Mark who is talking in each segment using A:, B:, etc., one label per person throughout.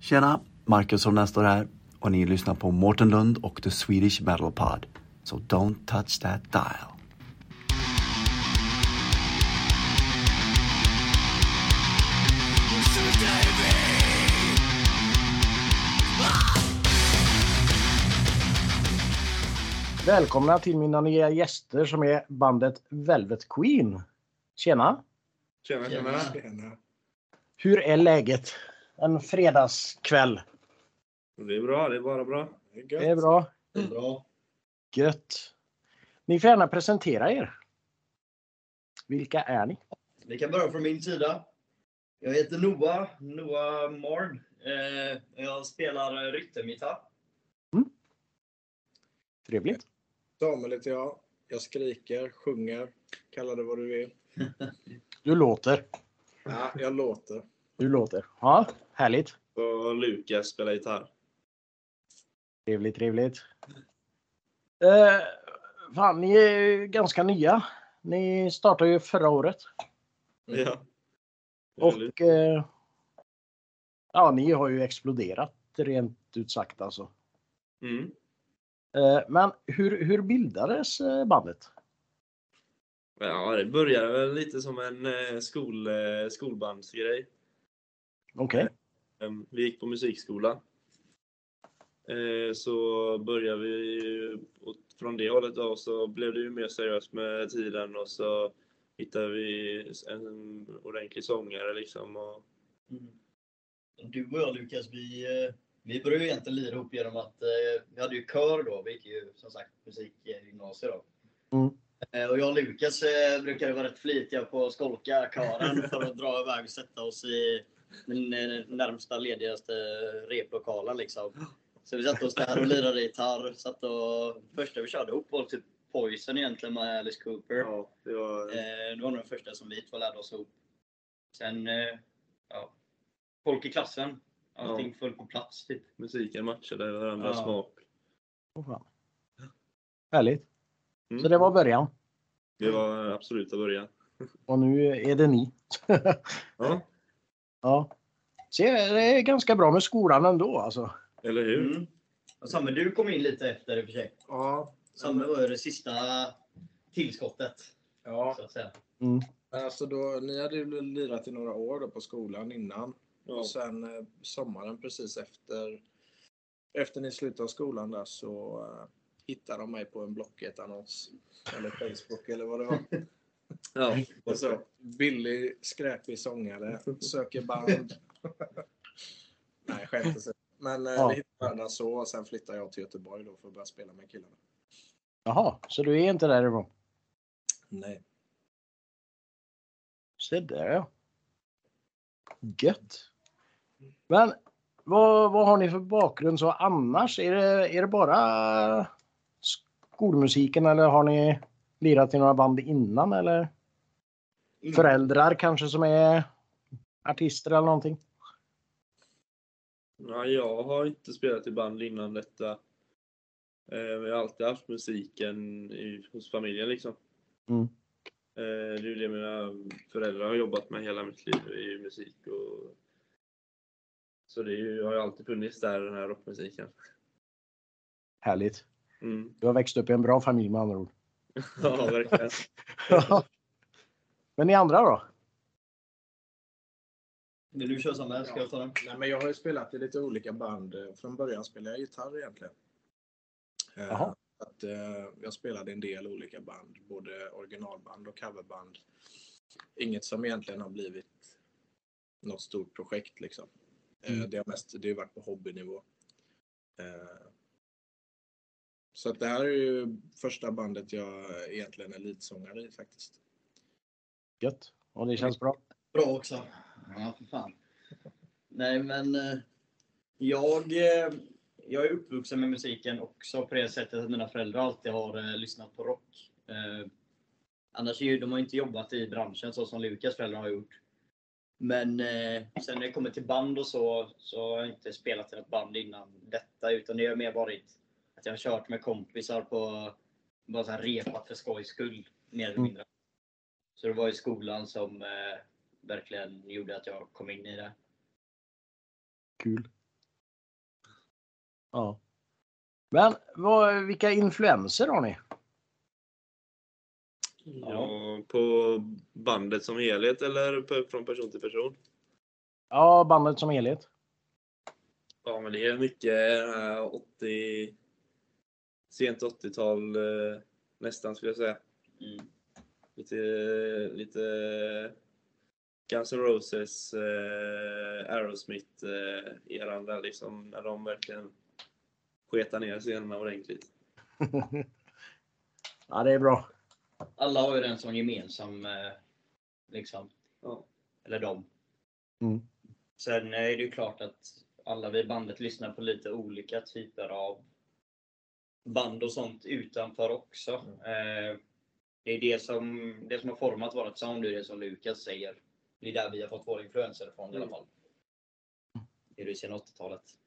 A: Tjena! Marcus Holmén står här och ni lyssnar på Mårten Lund och The Swedish Metal Pod. So don't touch that dial.
B: Välkomna till mina nya gäster som är bandet Velvet Queen. Tjena!
C: Tjena, tjena.
B: Hur är läget? En fredagskväll.
C: Det är bra, det är bara bra.
B: Det är bra. Gött. Ni får gärna presentera er. Vilka är ni?
D: Vi kan börja från min sida. Jag heter Noah, Noah Marn. Eh, jag spelar eh, rytmgitarr.
B: Trevligt.
C: Samuel heter jag. Jag skriker, sjunger, kallar det vad du vill.
B: Du låter.
C: Ja, jag låter.
B: Du låter. Ja, härligt.
C: Och Lukas spelar gitarr.
B: Trevligt, trevligt. Eh, fan, ni är ju ganska nya. Ni startade ju förra året.
D: Mm.
C: Ja.
B: Och eh, ja, ni har ju exploderat rent ut sagt alltså.
C: Mm.
B: Eh, Men hur, hur bildades eh, bandet?
C: Ja, det började väl lite som en eh, skol, eh, skolbandsgrej.
B: Okej,
C: Em, Vi gick på musikskola. Eh, Så började vi ju- och från det hållet då, så blev det ju mer seriöst med tiden och så hittade vi en ordentlig sångare liksom. Och,
D: Mm. Du och jag Lukas, vi, eh, vi började ju egentligen lira ihop genom att eh, vi hade ju kör då. Vi gick ju som sagt musikgymnasiet då.
B: Mm.
D: Eh, och jag och Lukas eh, brukade vara rätt flitiga på att skolka kören för att dra iväg och sätta oss i den eh, närmsta ledigaste replokalen liksom. Så vi satte oss där och lirade gitarr. Satt och, första vi körde ihop var typ Poison egentligen med Alice Cooper.
C: ja, det var...
D: Eh, det var nog den första som vi två lärde oss ihop. Sen, eh, ja. Folk i klassen. Allting föll på plats typ.
C: musiken matchade varandras
D: Ja.
C: smak.
B: Åh, fan. Härligt.
C: Mm.
B: Så det var början.
C: Det var den absoluta början.
B: Och nu är det ni.
C: Ja,
B: ja. Så det är ganska bra med skolan ändå alltså.
C: eller hur?
D: Mm. Och Samme, du kom in lite efter i och för sig.
E: Ja,
D: Samme var ju det sista tillskottet.
E: ja.
D: Så att säga.
E: Men Alltså då, ni hade ju lirat i några år då på skolan innan
C: Ja.
E: och sen eh, sommaren precis efter efter ni slutade skolan där så eh, hittade de mig på en Blocket-annons eller Facebook eller vad det var.
C: Ja.
E: Och så, Alltså, billig, skräpig sångare, söker band. Nej, skämt åsido. Men eh,
B: Ja.
E: vi hittade varandra så och sen flyttade jag till Göteborg då för att börja spela med killarna.
B: Jaha, så du är inte därifrån?
E: Nej.
B: Se där ja. Gött. Men vad, vad har ni för bakgrund så annars? Är det, är det bara skolmusiken eller har ni lirat i några band innan eller? föräldrar kanske som är artister eller någonting.
C: Nej, jag har inte spelat i band innan detta. Eh, men jag har alltid haft musiken i, hos familjen liksom.
B: Mm.
C: Eh, det är ju det mina föräldrar har jobbat med hela mitt liv, är ju musik och så det är ju, har ju alltid funnits där, den här rockmusiken.
B: Härligt.
C: Mm.
B: Du har växt upp i en bra familj med andra ord.
C: Ja, verkligen.
B: Men ni andra då?
D: Vill du köra Samme? Ska jag ta den?
E: Nej, men jag har ju spelat i lite olika band. Eh, Från början spelade jag gitarr egentligen. Eh,
B: Jaha.
E: Att, eh, jag spelade i en del olika band, både originalband och coverband. Inget som egentligen har blivit något stort projekt liksom. Eh,
B: Mm.
E: Det har mest det har varit på hobbynivå. Eh, så att det här är ju första bandet jag egentligen är leadsångare i faktiskt.
B: Gött. Och det känns bra.
D: Bra också. Ja, för fan. Nej, men eh, jag, eh, jag är uppvuxen med musiken också på det sättet att mina föräldrar alltid har eh, lyssnat på rock. Eh, annars är ju, de har inte jobbat i branschen så som Lukas föräldrar har gjort. Men eh, sen när det kommer till band och så, så har jag inte spelat i något band innan detta, utan det har mer varit att jag har kört med kompisar på, bara så här repat för skojs skull, mer eller
B: Mm.
D: mindre. Så det var i skolan som eh, verkligen gjorde att jag kom in i det.
B: Kul. Ja. Men vad, vilka influenser har ni?
C: Ja, på bandet som helhet eller på- från person till person?
B: Ja, bandet som helhet.
C: Ja, men det är mycket eh, 80... Sent 80-tal eh, nästan skulle jag säga.
D: Mm.
C: Lite, eh, lite Guns N' Roses, eh, Aerosmith-eran där liksom. När de verkligen sketar ner scenerna ordentligt.
B: Ja, det är bra.
D: Alla har ju den som gemensam. eh, Liksom.
C: Ja.
D: Eller dem.
B: Mm.
D: Sen eh, är det ju klart att alla vi i bandet lyssnar på lite olika typer av band och sånt utanför också.
C: Mm.
D: Eh, Det är det som, det som har format vårt sound, det är det som Lukas säger. Det är där vi har fått våra influenser från i alla
C: Mm.
D: fall. Det är det sen 80-talet.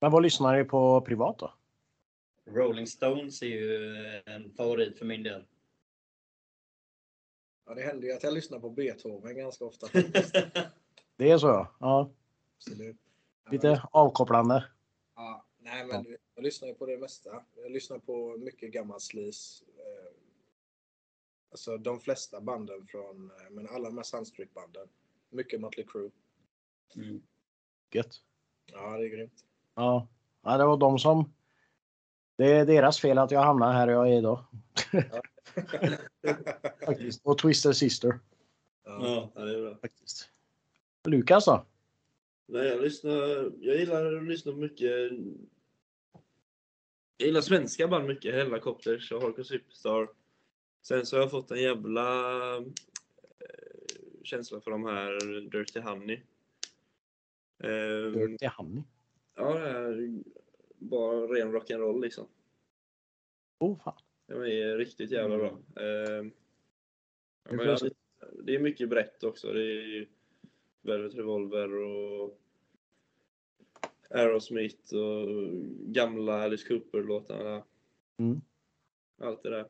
B: Men vad lyssnar ni på privat då?
D: Rolling Stones är ju en favorit för min del.
E: Ja, det händer ju att jag lyssnar på Beethoven ganska ofta. faktiskt.
B: Det är så ja. ja
E: Absolut. Ja,
B: lite avkopplande.
E: Ja, nej, men jag lyssnar ju på det mesta. Jag lyssnar på mycket gammal slis. Eh, Alltså de flesta banden från, eh, men alla de här Sunstreet-banden. Mycket Mötley Crüe.
D: Mm.
B: Gött.
E: Ja, det är grymt.
B: Ja. ja, det var de som... Det är deras fel att jag hamnar här jag är idag. Faktiskt. Och Twister Sister.
E: ja.
C: Ja, det är bra.
B: Faktiskt. Lukas då?
C: Nej, jag lyssnar... Jag gillar att lyssna på mycket... Jag gillar svenska band mycket. Hellacopters och Harko Superstar. Sen så har jag fått en jävla eh, känsla för de här Dirty Honey. Eh,
B: Dirty Honey.
C: Ja, det är bara ren rock'n'roll liksom.
B: Oh, fan.
C: Det är riktigt jävla bra. Eh,
B: Mm. Det
C: men jag-
B: är
C: det är mycket brett också. Det är ju Velvet Revolver och Aerosmith och gamla Alice Cooper-låtarna.
B: Mm.
C: Allt det där.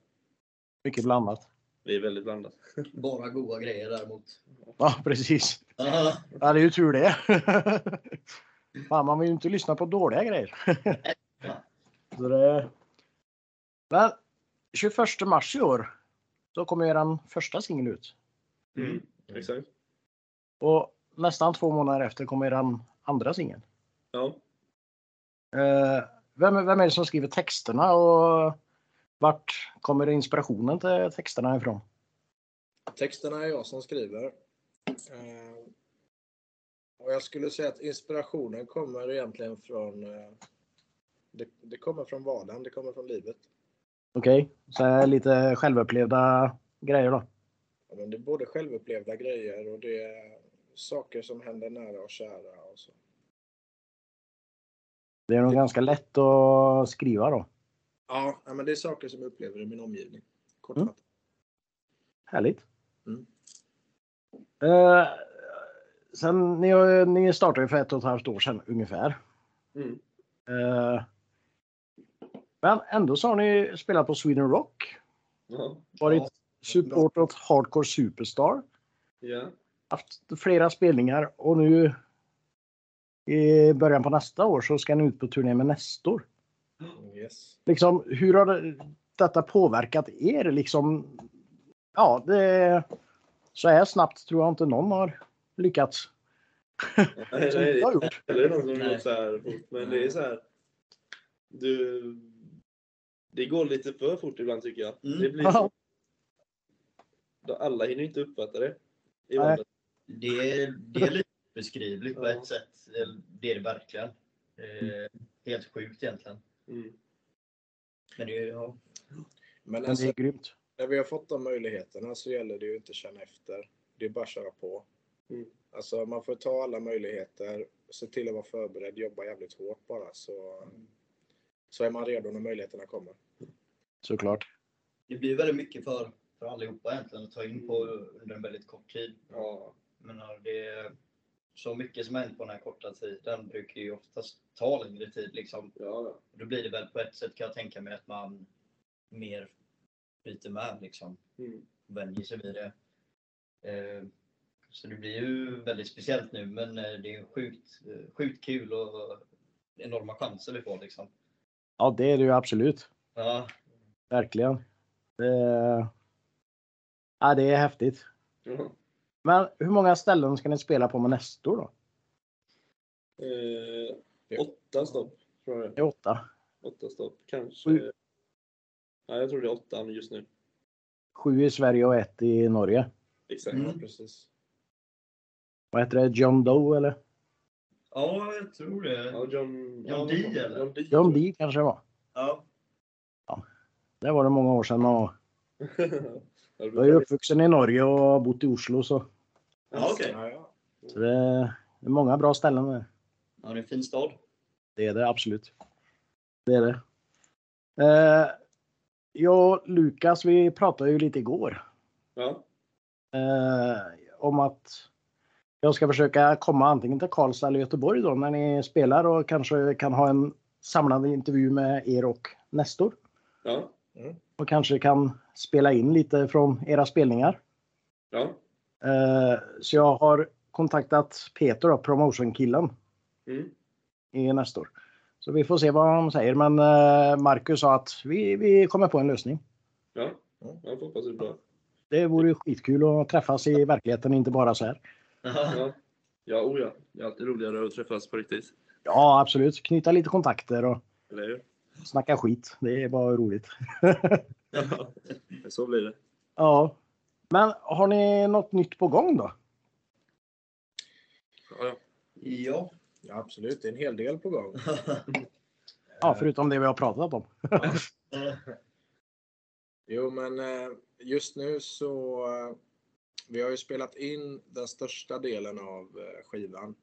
B: mycket blandat.
C: Det är väldigt blandat.
D: Bara goda grejer däremot.
B: Ja, precis. Ja, det är ju tur det. Fan, man vill ju inte lyssna på dåliga grejer. Så det... Men 21 mars i år, då kommer er första singel ut.
C: Mm. Exakt.
B: Och nästan två månader efter kommer er andra singel.
C: Ja.
B: Eh, vem, vem är det som skriver texterna och vart kommer inspirationen till texterna ifrån?
E: Texterna är jag som skriver. Eh, Och jag skulle säga att inspirationen kommer egentligen från... eh, Det, det kommer från vardagen, det kommer från livet.
B: Okej, så här lite självupplevda grejer då.
E: Ja, men det är både självupplevda grejer och det är saker som händer nära och kära. Och så.
B: Det är nog ganska lätt att skriva då.
E: Ja, ja, men det är saker som jag upplever i min omgivning.
B: Mm.
E: Kortfattat.
B: Härligt.
E: Mm.
B: Eh, sen ni, har ju- ni startade ju för ett och ett halvt år sedan ungefär.
C: Mm.
B: Eh, men ändå så har ni spelat på Sweden Rock,
C: Ja.
B: varit
E: Ja.
B: support åt Hardcore Superstar,
C: ja.
B: haft flera spelningar och nu i början på nästa år så ska ni ut på turné med Nestor.
E: Yes.
B: Liksom, hur har det- detta påverkat er? Liksom, ja, det, så här snabbt tror jag inte någon har lyckats.
C: Nej, nej,
B: Som
C: det-
B: jag har gjort.
C: Eller någon som
D: Nej.
C: går så här fort. Men det är så här. Du. Det går lite för fort ibland tycker jag.
D: Mm.
C: Det blir så, alla hinner inte uppfatta det.
B: Nej.
C: I vardagen.
D: Det är, det är lite beskrivligt på
C: Ja.
D: ett sätt. Det- Det är det verkligen. Eh, helt sjukt egentligen.
C: Mm.
D: Men det är, ja.
E: Men
B: Men det
E: alltså,
B: är grymt.
E: när vi har fått de möjligheterna så gäller det ju inte att känna efter. Det är bara att köra på.
C: Mm.
E: Alltså, man får ta alla möjligheter, se till att vara förberedd, jobba jävligt hårt bara så, så är man redo när möjligheterna kommer.
B: Såklart.
D: det blir väldigt mycket för, för allihopa egentligen att ta in på under en väldigt kort tid.
E: Ja.
D: Men ja, det är, så mycket som har hänt på den här korta tiden brukar ju oftast ta längre tid. Liksom.
C: Ja,
D: Då blir det väl på ett sätt kan jag tänka mig att man mer byter med liksom.
C: Mm.
D: Vänjer sig vid det. Eh, så det blir ju väldigt speciellt nu men eh, det är sjukt, eh, sjukt kul och enorma chanser vi får liksom.
B: Ja, det är det ju absolut.
D: Ja,
B: Verkligen. Det, ja, det är häftigt.
C: Ja.
B: Men hur många ställen ska ni spela på med nästa år då?
C: Eh, åtta stopp, tror jag.
B: Det är åtta.
C: Åtta stopp, kanske.
B: Sju.
C: Nej, jag tror det är åttan just nu.
B: Sju i Sverige och ett i Norge.
C: Exakt.
D: Mm.
E: Ja, precis.
B: Vad heter det? John Doe eller?
D: ja jag tror det.
C: Ja, John...
D: John Dee, eller?
C: John Dee.
B: John Dee kanske det var.
D: Ja.
B: Det var det många år sedan och
C: Ja,
B: jag är
C: det
B: ju
C: brukar-
B: uppvuxen i Norge och bott i Oslo så
D: Ja, okej.
E: Ja, ja.
B: så det det är många bra ställen där.
D: Ja, det är en fin stad.
B: Det är det absolut. Det är det. Eh, jag och Lukas, vi pratade ju lite igår
C: Ja.
B: eh, om att jag ska försöka komma antingen till Karlstad eller Göteborg då när ni spelar och kanske kan ha en samlande intervju med er och Nestor.
C: Ja.
B: Och kanske kan spela in lite från era spelningar.
C: Ja.
B: Eh, så jag har kontaktat Peter, då, promotionkillen.
C: Mm.
B: i nästa år. Så vi får se vad de säger. Men eh, Marcus sa att vi, vi kommer på en lösning.
C: Ja. Jag får hoppas det är bra.
B: Det vore ju skitkul att träffas i verkligheten, inte bara så här.
D: Ja.
C: Ja. Ja, oh ja. Det är alltid roligare att träffas på riktigt.
B: Ja, absolut. Knyta lite kontakter och
C: Eller hur?
B: snacka skit. Det är bara roligt.
C: Ja. Så blir det.
B: Ja. Men har ni något nytt på gång då?
C: Ja, ja.
D: ja.
E: ja, absolut. Det är en hel del på gång.
B: Ja, förutom det vi har pratat om.
E: Jo, men eh, just nu så... eh, Vi har ju spelat in den största delen av eh, skivan.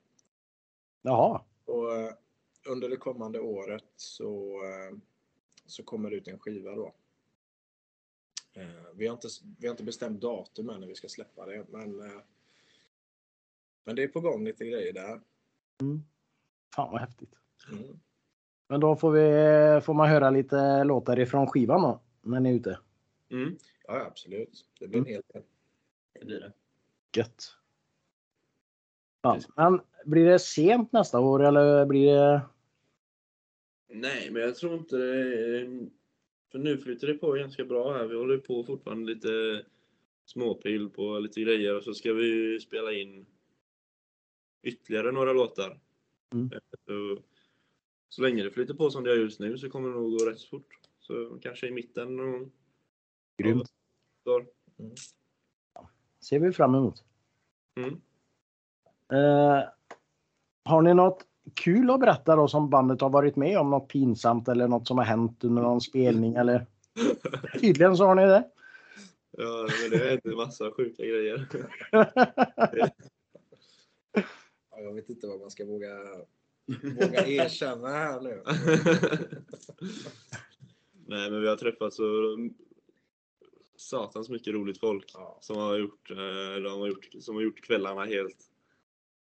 B: Jaha.
E: Och eh, under det kommande året så, eh, så kommer det ut en skiva då. Eh, Vi har inte, vi har inte bestämt datum än när vi ska släppa det, men, eh, men det är på gång lite grejer där.
B: Fan vad häftigt.
E: Mm.
B: Men då får, vi, får man höra lite låtar ifrån skivan då, när ni är ute.
C: Mm.
E: Ja, ja, absolut. Det blir en hel del.
D: Det blir det.
B: Gött. Ja, men blir det sent nästa år eller blir det...
C: Nej, men jag tror inte det. är- För nu flyter det på ganska bra här. Vi håller ju på fortfarande lite småpill på lite grejer och så ska vi ju spela in ytterligare några låtar.
B: Mm.
C: Så, så länge det flyter på som det gör just nu så kommer det nog gå rätt fort. Så kanske i mitten någon
B: Grymt.
C: dag.
B: ser vi fram emot.
C: Mm.
B: Eh, har ni något kul att berätta då som bandet har varit med om? Något pinsamt eller något som har hänt under någon spelning eller? Tydligen så har ni det.
C: Ja, men det är inte massa sjuka grejer.
E: Ja, jag vet inte vad man ska våga, våga erkänna här nu.
C: Nej, men vi har träffat så satans mycket roligt folk
E: Ja,
C: som har gjort, eh, de har gjort, som har gjort kvällarna helt.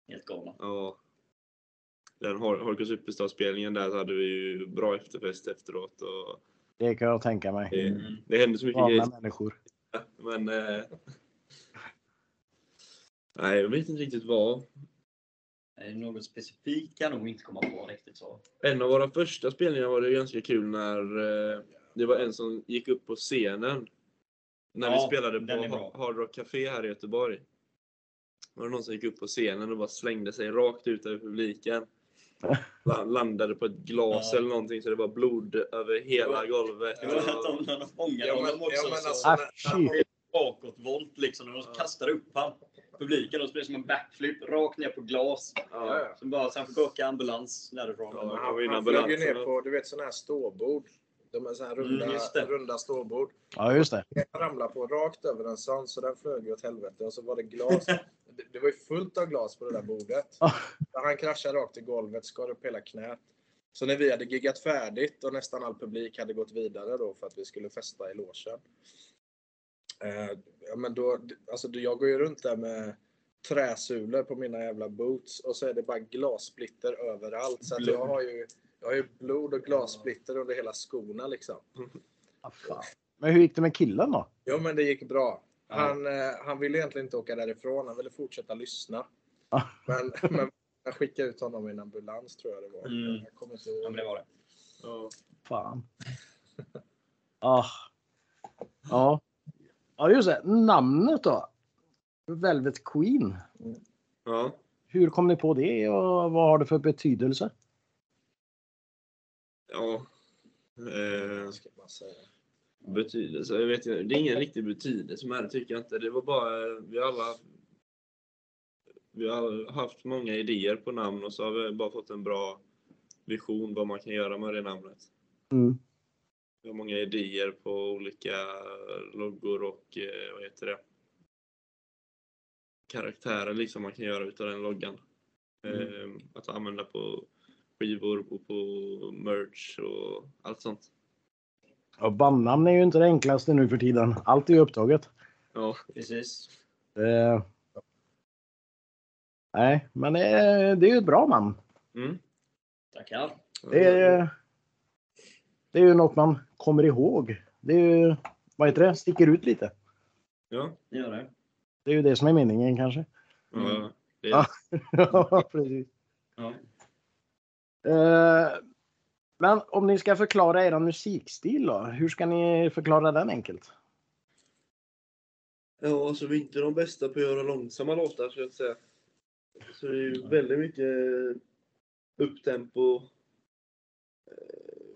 D: Helt galna.
C: Ja. Den Hor- Horka Superstar-spelningen där så hade vi ju bra efterfest efteråt. Och
B: Det kan jag tänka mig.
C: det,
D: Mm.
C: det hände så mycket
B: Galna
C: grejer.
B: människor.
C: Men... Eh, nej, jag vet inte riktigt vad.
D: Är det Eh, något specifikt kan jag nog inte komma på riktigt så.
C: En av våra första spelningar var det ganska kul när eh, det var en som gick upp på scenen. När
D: Ja,
C: vi spelade
D: den är
C: på
D: bra.
C: Ha- Hard Rock Café här i Göteborg. Var det någon som gick upp på scenen och bara slängde sig rakt ut över publiken. La- Landade på ett glas
D: Ja.
C: eller någonting så det var blod över hela golvet.
D: Det var att de, när de fångade
E: Ja, men-
D: honom också
E: ja, men
D: så
E: alltså-
B: Ah, fy.
D: bakåtvolt liksom. När de kastade upp han. Publiken och så blev det som en backflip rakt ner på glas.
C: Ja.
E: ja.
D: Som bara, sen fick åka ambulans därifrån.
C: Ja,
E: Han,
C: han var ju
E: han
C: innan
E: flög ju
C: balansen,
E: ner
C: va?
E: på, du vet sådana här ståbord. De är så här runda,
D: Mm, just det.
E: runda ståbord.
B: Ja, just det.
E: Jag ramlade på rakt över en sån så den flög ju åt helvete och så var det glas. Det, det var ju fullt av glas på det där bordet.
B: Ja.
E: Så Han kraschade rakt i golvet, skar upp hela knät. Så när vi hade giggat färdigt och nästan all publik hade gått vidare då för att vi skulle festa i logen. Eh, ja, men då, alltså jag går ju runt där med träsulor på mina jävla boots och så är det bara glassplitter överallt. Så att jag, har ju, jag har ju blod och glassplitter under hela skorna liksom.
B: Ah, fan. Men hur gick det med killen då?
E: Jo, men det gick bra.
D: Ja.
E: Han, eh, han ville egentligen inte åka därifrån. Han ville fortsätta lyssna.
B: Ja.
E: Men, men, Jag skickade ut honom i en ambulans tror jag det var.
D: Mm.
E: Jag kommer inte
D: Ja,
E: ihåg.
D: men det var det.
C: Ja.
B: Fan. Ah. Ja. Ja, just det. Namnet då? Velvet Queen.
C: ja.
B: Hur kom ni på det och vad har det för betydelse?
C: ja. Eh,
E: Ska man säga.
C: betydelse, jag vet inte. Det är ingen riktig betydelse med det tycker jag inte. Det var bara, eh, vi alla vi har haft många idéer på namn och så har vi bara fått en bra vision vad man kan göra med det namnet.
B: Mm.
C: Vi har många idéer på olika loggor och eh, vad heter det? Karaktärer liksom man kan göra utav den loggan.
B: Mm.
C: Eh, Att använda på skivor och på merch och allt sånt.
B: Ja, bandnamn är ju inte det enklaste nu för tiden. Allt är ju upptaget.
C: Ja,
D: Precis.
B: Eh. Nej, men det är, det är ju ett bra namn.
C: mm.
D: Tackar.
B: Det är, eh, det är ju något man kommer ihåg. Det är ju, vad heter det, sticker ut lite.
C: Ja,
D: Ni gör det.
B: Det är ju det som är meningen kanske.
C: ja. Det,
B: Ja. Ja, precis.
D: Ja.
B: Eh, men om ni ska förklara er musikstil då? Hur ska ni förklara den enkelt?
C: ja, så vi är inte de bästa på att göra långsamma låtar så att säga. Så det är ju väldigt mycket eh, upptempo. eh,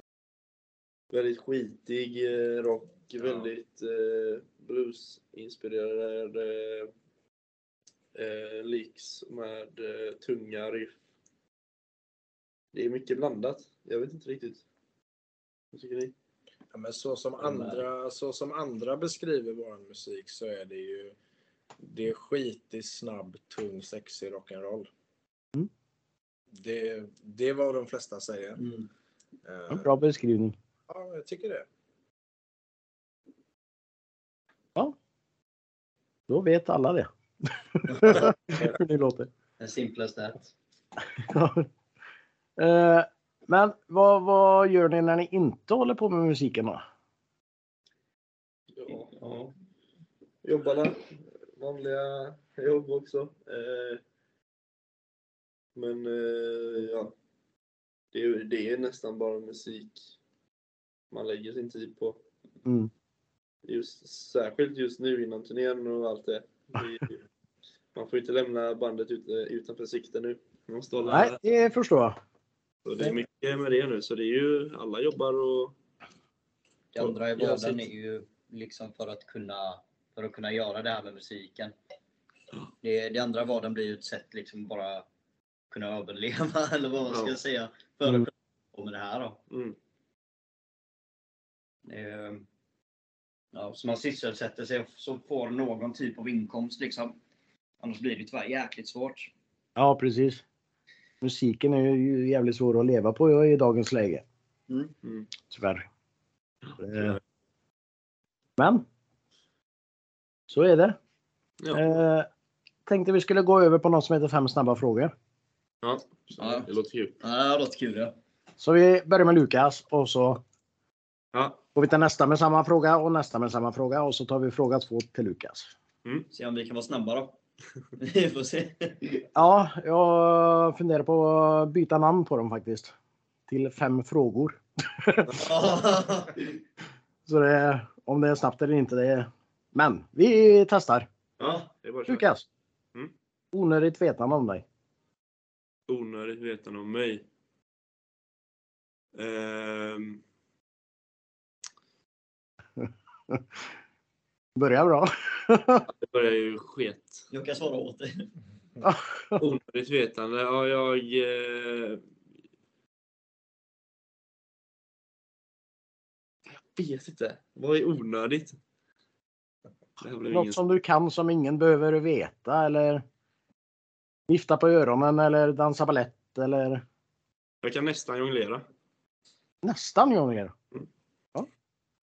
C: Väldigt skitig eh, rock, väldigt eh, bluesinspirerad eh, eh, licks med eh, tunga riff. Det är mycket blandat. Jag vet inte riktigt. Vad tycker ni?
E: Ja, men så som, andra, så som andra beskriver vår musik så är det ju det är skitig, snabb, tung, sexig rock'n'roll.
B: Mm.
E: Det, det är vad de flesta säger.
D: Mm.
E: Eh,
B: En bra beskrivning.
E: Ja, jag tycker det.
B: Då vet alla det. Hur ni låter.
D: Den simplaste. att-
B: Eh, men vad, vad gör ni när ni inte håller på med musiken då?
D: Ja.
C: jobbarna. Vanliga jobb också. Eh, men eh, ja, det är, ju- det är nästan bara musik man lägger sin tid på.
B: Mm.
C: Just, särskilt just nu innan turnén och allt det. det är, ju- man får inte lämna bandet ut, eh, utanför sikte nu. Man måste hålla
B: Nej, det förstår jag.
C: och det är mycket med det nu, så det är ju alla jobbar och
D: Det andra i
C: Ja,
D: vardagen
C: sitt.
D: är ju liksom för att kunna, för att kunna göra det här med musiken. Det, det andra i vardagen blir ju ett sätt liksom bara kunna överleva eller vad man ska
C: Ja.
D: säga. För att
B: Mm.
D: kunna hålla på med det här då.
C: mm,
D: Det är, Ehm, ja, så man sysselsätter sig och så får någon typ av inkomst liksom. Annars blir det tyvärr jäkligt svårt.
B: Ja, precis. Musiken är ju jävligt svår att leva på i dagens läge.
D: Mm.
C: Mm.
B: Tyvärr. Eh, Men. Så är det.
C: Ja.
B: Eh, tänkte vi skulle gå över på något som heter fem snabba frågor.
C: ja, så
D: Ja.
C: det låter kul.
D: Ja, det här låter kul. Ja.
B: Så vi börjar med Lukas och så
C: Ja,
B: går vi till nästa med samma fråga och nästa med samma fråga och så tar vi fråga två till Lukas.
D: Se om vi kan vara snabba då. Vi får se.
B: Ja, jag funderar på att byta namn på dem faktiskt. Till fem frågor.
D: Ja.
B: Så det, om det är snabbt eller inte. Det är... Men vi testar.
C: ja, det är bara att köra.
B: Lukas.
C: Mm.
B: Onödigt vetande om dig.
C: onödigt vetande om mig. Ehm,
B: Börjar bra.
C: det börjar ju sket.
D: Jag kan svara åt dig.
C: Onödigt vetande. Ja, jag... Eh, jag vet inte. Vad är onödigt? Det här blev ingen...
B: Något som du kan som ingen behöver veta eller vifta på öronen eller dansa ballett eller
C: Jag kan nästan jonglera.
B: nästan jonglera.
C: Mm.
B: Ja.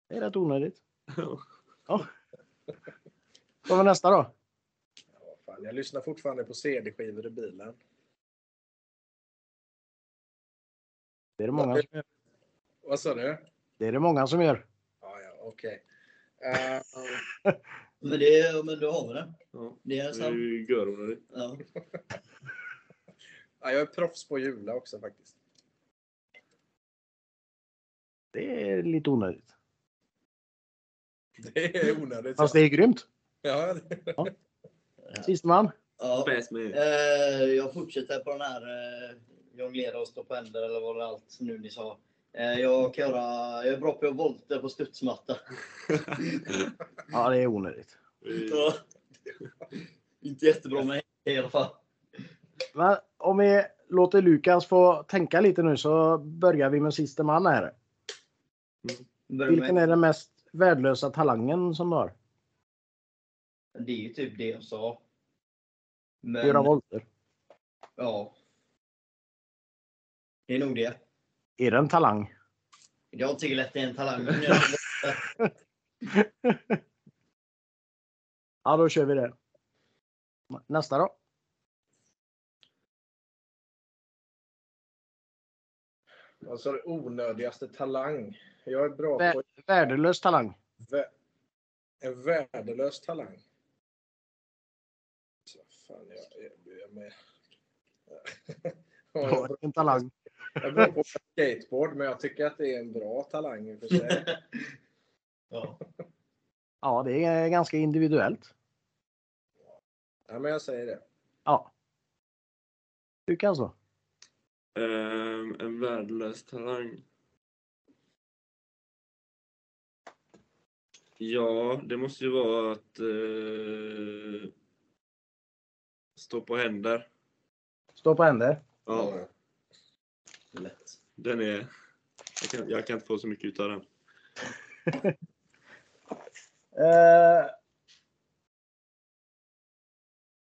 B: Det är rätt onödigt.
C: Ja.
B: Vad var nästa då?
E: Ja, vad fan. Jag lyssnar fortfarande på CD-skivor i bilen.
B: Det är det många,
E: Vad sa du?
B: det är det många som gör.
E: Ja, ja, okej. Eh,
D: Men, det, men då har vi det.
C: Ja.
D: Det är
C: Det är
D: sant.
C: ju göronödigt.
D: Ja.
E: Ja, jag är proffs på att jula också faktiskt.
B: Det är lite onödigt.
E: Det är onödigt.
B: Fast det är grymt.
E: Ja, det-
B: Sist man.
D: Ja.
C: Bäst med.
D: Eh, jag fortsätter på den här eh, jonglera och stå på händer eller vad det allt nu ni sa. Eh, jag, kan göra, jag är bra på att göra volter på studsmatta.
B: Ja, det är onödigt.
D: Så, inte jättebra med i alla fall.
B: Men om vi låter Lukas få tänka lite nu så börjar vi med siste man här.
C: Mm.
D: Börjar med-
B: Vilken är den mest värdelösa talangen som du har?
D: Det är ju typ det jag sa. Men,
B: Göra volter.
D: Ja. Det är nog det.
B: Är det en talang?
D: Jag tycker att det är en talang.
B: Ja, då kör vi det. Nästa då.
E: Vad sa du? Alltså, Onödigaste talang. Jag är bra
B: Vä-
E: på
B: Värdelös talang.
E: vä- en värdelös talang. Så fan, jag, jag, jag med. Ja, jag är bra-
B: En talang.
E: jag är bra på skateboard, men jag tycker att det är en bra talang i och för sig.
D: ja.
B: Ja, det är ganska individuellt.
E: Ja, men jag säger det.
B: Ja. Lukas då?
C: Ehm, en värdelös talang. Ja, det måste ju vara att eh, stå på händer.
B: Stå på händer.
C: Ja,
D: Lätt.
C: den är... Jag kan, jag kan inte få så mycket utav den.
B: Eh,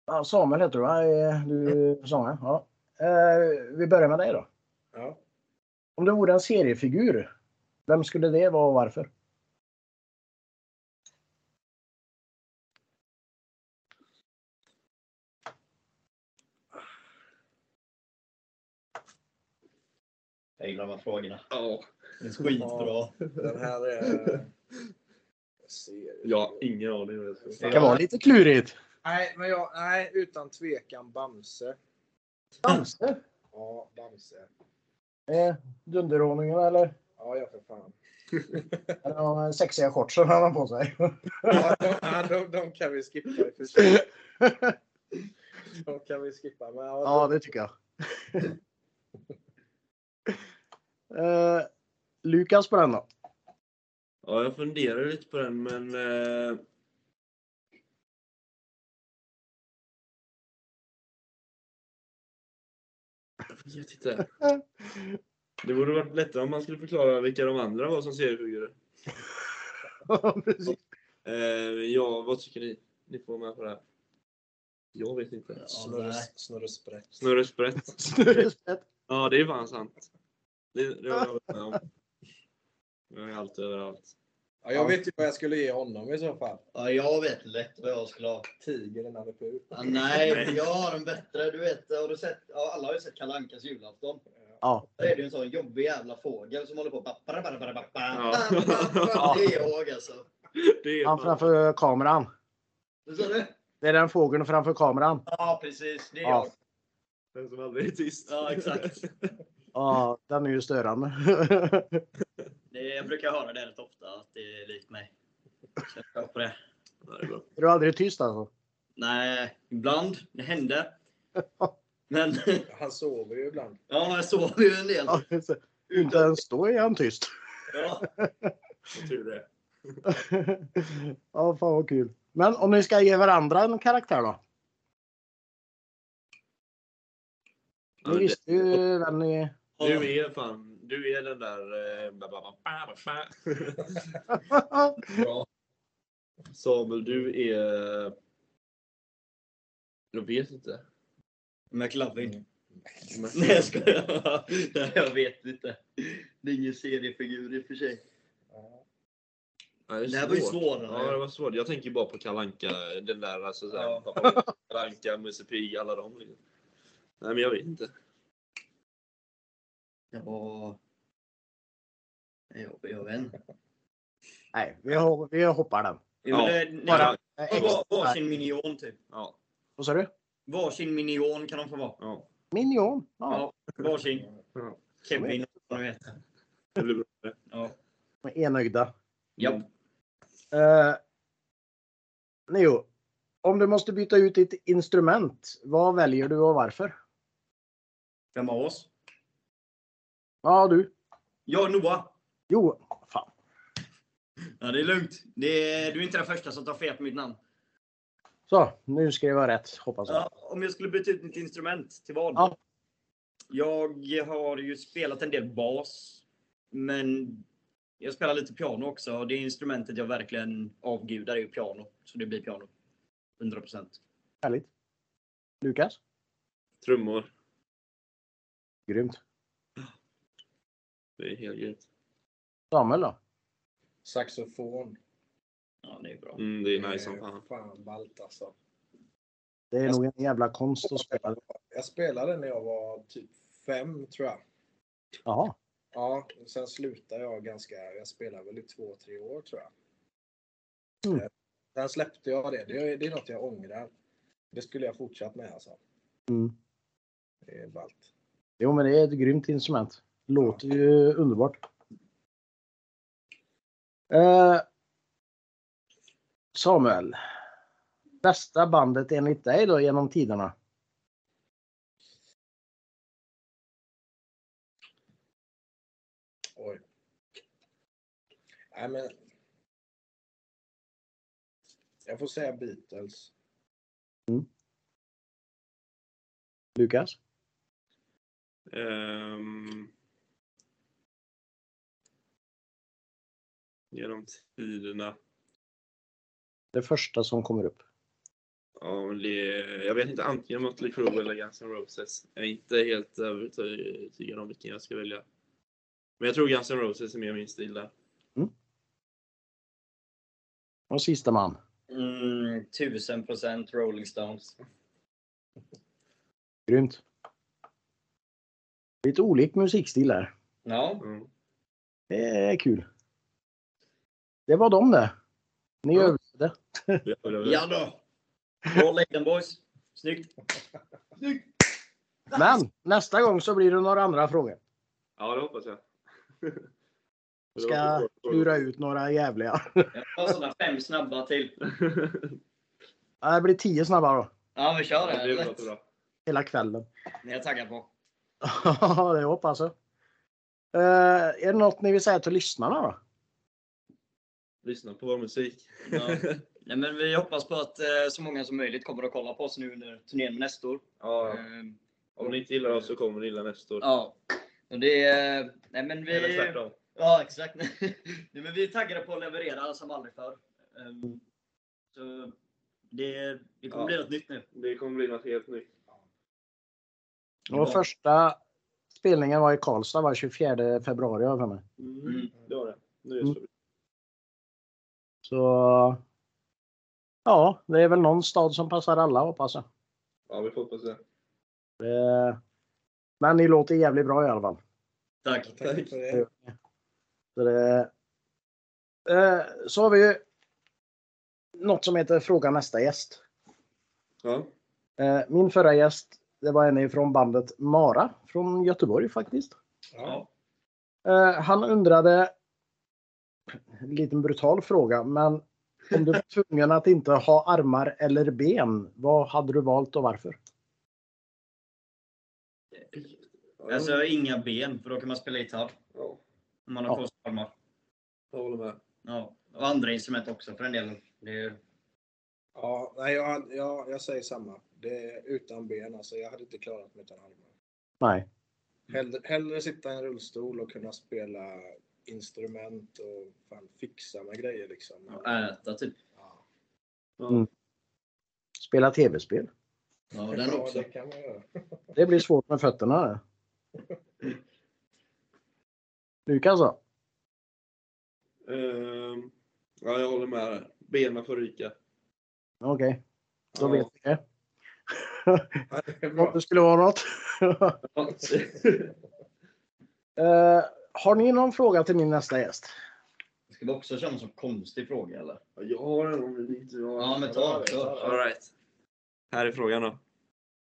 B: ja, Samuel heter du va? Eh, Du Samuel? Ja. Eh, vi börjar med dig då.
E: Ja.
B: Om du vore en seriefigur, vem skulle det vara och varför?
D: Jag gillar de här frågorna.
C: Ja,
D: Det är skitbra.
E: Den här är... Jag ser-
C: ja ingen aning. vad jag ska säga.
B: Det kan vara lite klurigt.
E: Nej, men jag, nej, utan tvekan Bamse.
B: Bamse?
E: Ja, Bamse.
B: Eh, Dunderhonungen eller?
E: Ja, ja för fan.
B: Eller de sexiga shortsen han har på sig.
E: Ja, de, ja, de, de kan vi skippa i och för sig. De kan vi skippa. Men ja,
B: Ja, det tycker jag. eh, Lukas på den då.
C: Ja, jag funderar lite på den, men... Eh... Jag vet inte. Det borde varit lättare om man skulle förklara vilka de andra var som seriefigurer.
B: Precis.
C: Eh, ja, vad tycker ni? Ni får vara med på det här. Jag vet inte.
E: Snurre,
D: nej.
E: snurre sprätt.
C: Snurre Sprätt.
B: Snurrespett.
C: Ja, det är fan sant. Det, det har jag varit med om. Jag är alltid överallt.
E: Ja, jag vet ju vad jag skulle ge honom i så fall.
D: Ja, jag vet lätt vad jag skulle ha.
E: Tiger innan det pur.
D: Ja, nej, jag har en bättre. Du vet, har du sett, ja, alla har ju sett Kalle Ankas julafton.
B: Ja.
D: Då är det ju en sån jobbig jävla fågel som håller på. och bara- bara- bara- bara- bara-
C: Ja.
D: bara- Det är jag alltså.
C: Det är
B: Han
C: fan.
B: framför kameran.
D: Vad sa du?
B: Det är den fågeln framför kameran.
D: Ja, precis. Det är
B: Ja.
D: jag.
C: Den som aldrig är tyst.
D: Ja, exakt.
B: Ja, den är ju störande.
D: Det, jag brukar höra det rätt ofta, att det är likt mig. Känner jag på det.
C: Ja, det är bra.
B: är du aldrig tyst alltså?
D: Nej, ibland. Det hände. Men
E: Han sover ju ibland.
D: ja, jag sov ju en del.
B: Ja, just det. Inte ens då är han tyst.
D: Ja.
C: Vad Tur det.
B: Ja, fan vad kul. Men om ni ska ge varandra en karaktär då?
C: Ja,
B: Ni
C: men det-
B: visste ju vem ni...
C: Du är fan, du är den där... eh, ba, ba, ba, ba, ba.
D: Bra.
C: Samuel, du är... Jag vet inte.
D: McLovin.
C: Mm. Men-
D: Nej, jag skojar. Nej, jag vet inte. Det är ingen seriefigur i och för sig.
E: Ja.
C: Ja, är
D: Det här var ju
C: svårt.
D: svårare.
C: Ja, det var svårt. Jag tänker bara på Kalanka den där alltså såhär,
D: Ja.
C: ja. Kalanka, Musse Pig, alla dem. Liksom. Nej, men jag vet inte.
D: Ja. Jag, jag vet inte.
B: Nej, vi, ho- vi hoppar den.
D: Ja, men det, nej,
C: Bara-
B: Nej,
D: var-
B: extra-
D: Varsin minion typ.
C: Ja,
B: Eh, Vad sa du?
D: Varsin minion kan de få vara.
C: ja.
B: Minion. Ja.
D: Ja, varsin.
C: Ja.
D: Kevin, vad de heter.
C: Det blir bra.
D: Ja.
B: Med enögda.
D: Japp.
B: Eh, Neo, om du måste byta ut ditt instrument, vad väljer du och varför?
D: Vem av oss?
B: Ja, du.
D: Ja, Noah.
B: Jo, fan.
D: Ja, det är lugnt. Det är, du är inte den första som tar fel på mitt namn.
B: Så, nu skrev jag rätt, hoppas jag.
D: Ja, om jag skulle byta ut mitt instrument, till vad?
B: Ja.
D: Jag har ju spelat en del bas. Men jag spelar lite piano också. Och det instrumentet jag verkligen avgudar är ju piano. Så det blir piano. 100%.
B: Härligt. Lukas?
C: Trummor.
B: Grymt.
C: Det är helt grymt.
B: Samuel då?
E: Saxofon. Eh,
D: Ja, det är bra.
C: Mm, det är nice som fan.
E: Fan ballt alltså.
B: Det är nog en jävla konst att spela.
E: Jag spelade när jag var typ fem tror jag.
B: Jaha.
E: Ja, och sen slutade jag ganska, jag spelade väl i två, tre år tror jag.
B: Mm.
E: Eh, Sen släppte jag det. det. är- Det är något jag ångrar. Det skulle jag fortsatt med alltså.
B: Mm.
E: Det är ballt.
B: Jo, men det är ett grymt instrument. Låter ju underbart. Eh, Samuel. Bästa bandet enligt dig då genom tiderna?
E: Oj. Nej men. Jag får säga Beatles.
B: Lukas?
C: Ehm. Genom tiderna.
B: Det första som kommer upp.
C: Ja, men det, jag vet inte, antingen Mötley Crüe eller Guns N' Roses. Jag är inte helt övertygad om vilken jag ska välja. Men jag tror Guns N' Roses är mer min stil där.
B: Och sista man.
D: Mm, 1000% Rolling Stones.
B: Grymt. Lite olik musikstil där.
D: Ja,
C: Mm.
B: Det är kul. Det var dem det. Ni
C: Ja.
B: överlevde.
C: Jag vill-
D: ja då. Roll Aiden Boys. Snyggt.
B: Men nästa gång så blir det några andra frågor.
C: Ja, det hoppas jag. Det var
B: Ska
C: så svårt.
B: lura ut några jävliga.
D: Jag har sådana fem snabba till.
B: Ja, Det blir tio snabba då.
D: Ja, vi kör
C: Ja,
D: det.
C: det
D: Lätt.
C: låter bra.
B: Hela kvällen.
D: Det är jag taggad på.
B: Ja, det hoppas jag. Eh, är det något ni vill säga till lyssnarna då?
C: Lyssna på vår musik.
D: Ja. Nej, men vi hoppas på att eh, så många som möjligt kommer att kolla på oss nu under turnén med nästa år.
C: Ja,
D: Ehm,
C: om ni inte gillar oss så kommer ni gilla nästa år.
D: ja. Och det är... Nej, men
C: Eller
D: vi...
C: tvärtom.
D: Ja, exakt. Nej, men vi är taggade på att leverera som aldrig förr. Ehm, så det, det kommer
C: Ja.
D: bli något nytt nu.
C: Det kommer bli något helt nytt.
B: Och första spelningen var i Karlstad var 24 februari har jag för mig.
D: Mm.
C: Det var det. Nu är det slut.
B: Så ja, det är väl någon stad som passar alla hoppas jag.
C: Ja, vi får hoppas det.
B: Eh, Men ni låter jävligt bra i alla fall.
D: Tack.
E: Tack för det.
B: Så, det, Eh, så har vi ju något som heter Fråga nästa gäst.
C: Ja.
B: Eh, Min förra gäst, det var en från bandet Mara från Göteborg faktiskt.
E: Ja.
B: Eh, Han undrade, en liten brutal fråga, men om du var tvungen att inte ha armar eller ben, vad hade du valt och varför?
D: Alltså, inga ben, för då kan man spela gitarr.
C: ja,
D: Om man har
B: Ja.
D: korta armar.
C: jag håller med.
D: Ja. Och andra instrument också för en del. Det är,
E: Ja, nej, jag, jag, jag säger samma. Det är utan ben alltså. Jag hade inte klarat mig utan armar.
B: Nej.
E: Hellre, hellre sitta i en rullstol och kunna spela instrument och fan fixa med grejer liksom.
D: att äta typ.
E: Ja,
C: Ja.
B: Mm. Spela tv-spel.
D: Ja, den
E: Ja,
D: också.
E: det kan man göra.
B: Det blir svårt med fötterna. det. Lukas då?
C: Ehm, ja, jag håller med. där. Benen får ryka.
B: Okej, då
C: Ja.
B: vet vi det.
E: Ja, det är
B: Om
E: bra.
B: det skulle vara något. Eh, har ni någon fråga till min nästa gäst?
D: Ska vi också köra en sån konstig fråga eller?
C: Ja, jag har en om du inte har
D: Ja, men ta den.
C: All right. Här är frågan då.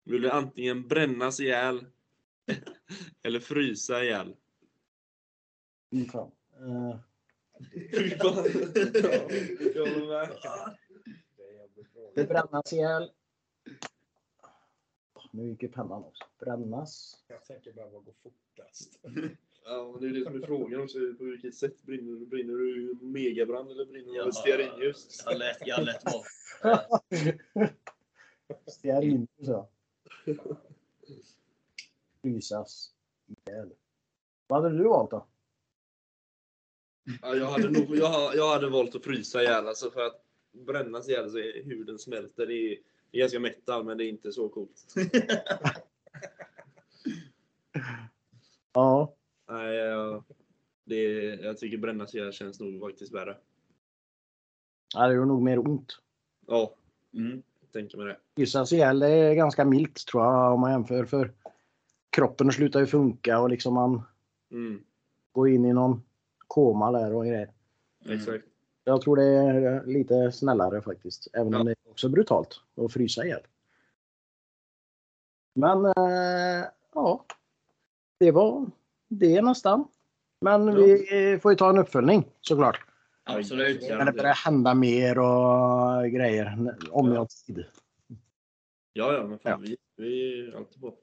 C: ville antingen brännas ihjäl eller frysa ihjäl.
B: Fy fan. Eh,
C: Fy fan. Ja, jag håller med.
B: brännas ihjäl. Nu gick ju pennan också. Brännas.
E: Jag tänker bara vad går fortast?
C: Ja, men det är det som är frågan också. På vilket sätt brinner du? Brinner du i en megabrand eller brinner du av
D: Jag-
C: ett stearinljus?
D: Jag lät, jag lät vara.
B: Stearin, så. Frysas ihjäl. Vad hade du valt då?
C: Ja, jag, hade nog, jag, jag hade valt att frysa ihjäl alltså för att brännas ihjäl så är huden smälter. Det är, det är ganska metal men det är inte så coolt.
B: Ja.
C: Nej, jag, det, är- jag tycker brännas ihjäl känns nog faktiskt värre.
B: Ja, det gör nog mer ont.
C: Ja,
D: Mm.
C: jag tänker mig det.
B: Frysas ihjäl är ganska milt tror jag om man jämför för kroppen slutar ju funka och liksom man
C: Mm,
B: går in i någon koma där och grejer.
C: Exakt.
B: Jag tror det är lite snällare faktiskt, även om det är också brutalt att frysa ihjäl. Men eh, ja, det var det nästan. Men vi får ju ta en uppföljning såklart.
D: Absolut.
B: När det börjar hända mer och grejer om jag har tid.
C: Ja, ja, men fan,
B: Ja.
C: Vi, vi är alltid på.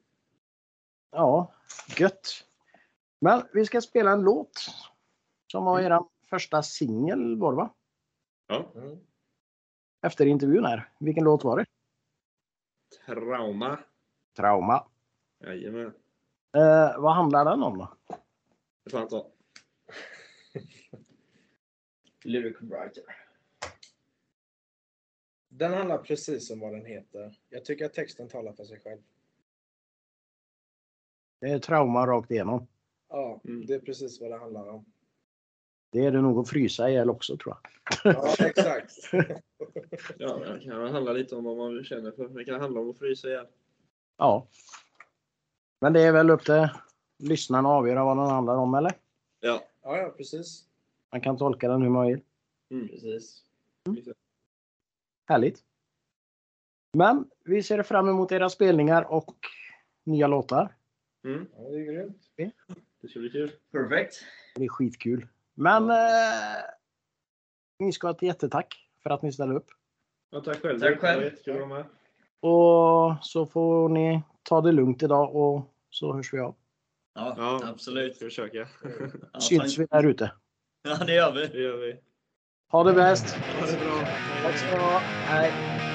B: Ja, gött. Men vi ska spela en låt som var er första singel var det va?
C: Ja.
E: Mm.
B: Efter intervjun här. Vilken låt var det?
C: Trauma.
B: Trauma.
C: Jajamän.
B: Eh, vad handlar den om då?
C: Det får han ta.
D: Lyric writer.
E: Den handlar precis om vad den heter. Jag tycker att texten talar för sig själv.
B: Det är trauma rakt igenom.
E: Ja,
C: Mm.
E: det är precis vad det handlar om.
B: Det är det nog att frysa ihjäl också tror jag.
E: Ja, exakt.
C: Ja, det kan handla lite om vad man känner för. Det kan handla om att frysa ihjäl.
B: Ja. Men det är väl upp till lyssnarna att avgöra vad den handlar om eller?
C: Ja.
E: Ja, ja, precis.
B: Man kan tolka den hur man vill.
C: Mm.
D: Precis.
B: Härligt. Men vi ser fram emot era spelningar och nya låtar.
C: Mm.
E: Ja, det är grymt.
C: Det ska bli kul.
D: Perfekt.
B: Det är skitkul. Men eh, ni ska ha ett jättetack för att ni ställer upp.
C: Ja, tack själv.
D: Tack själv.
C: Det var jättekul att vara med.
B: Och så får ni ta det lugnt idag och så hörs vi av.
D: Ja,
C: Ja,
D: absolut.
C: Ska försöka.
D: Ja,
B: Syns
D: tack.
B: vi där ute.
D: ja, det gör vi.
C: Det gör vi.
B: Ha det bäst!
C: Ha det bra.
B: Tack ska ni ha. Hej!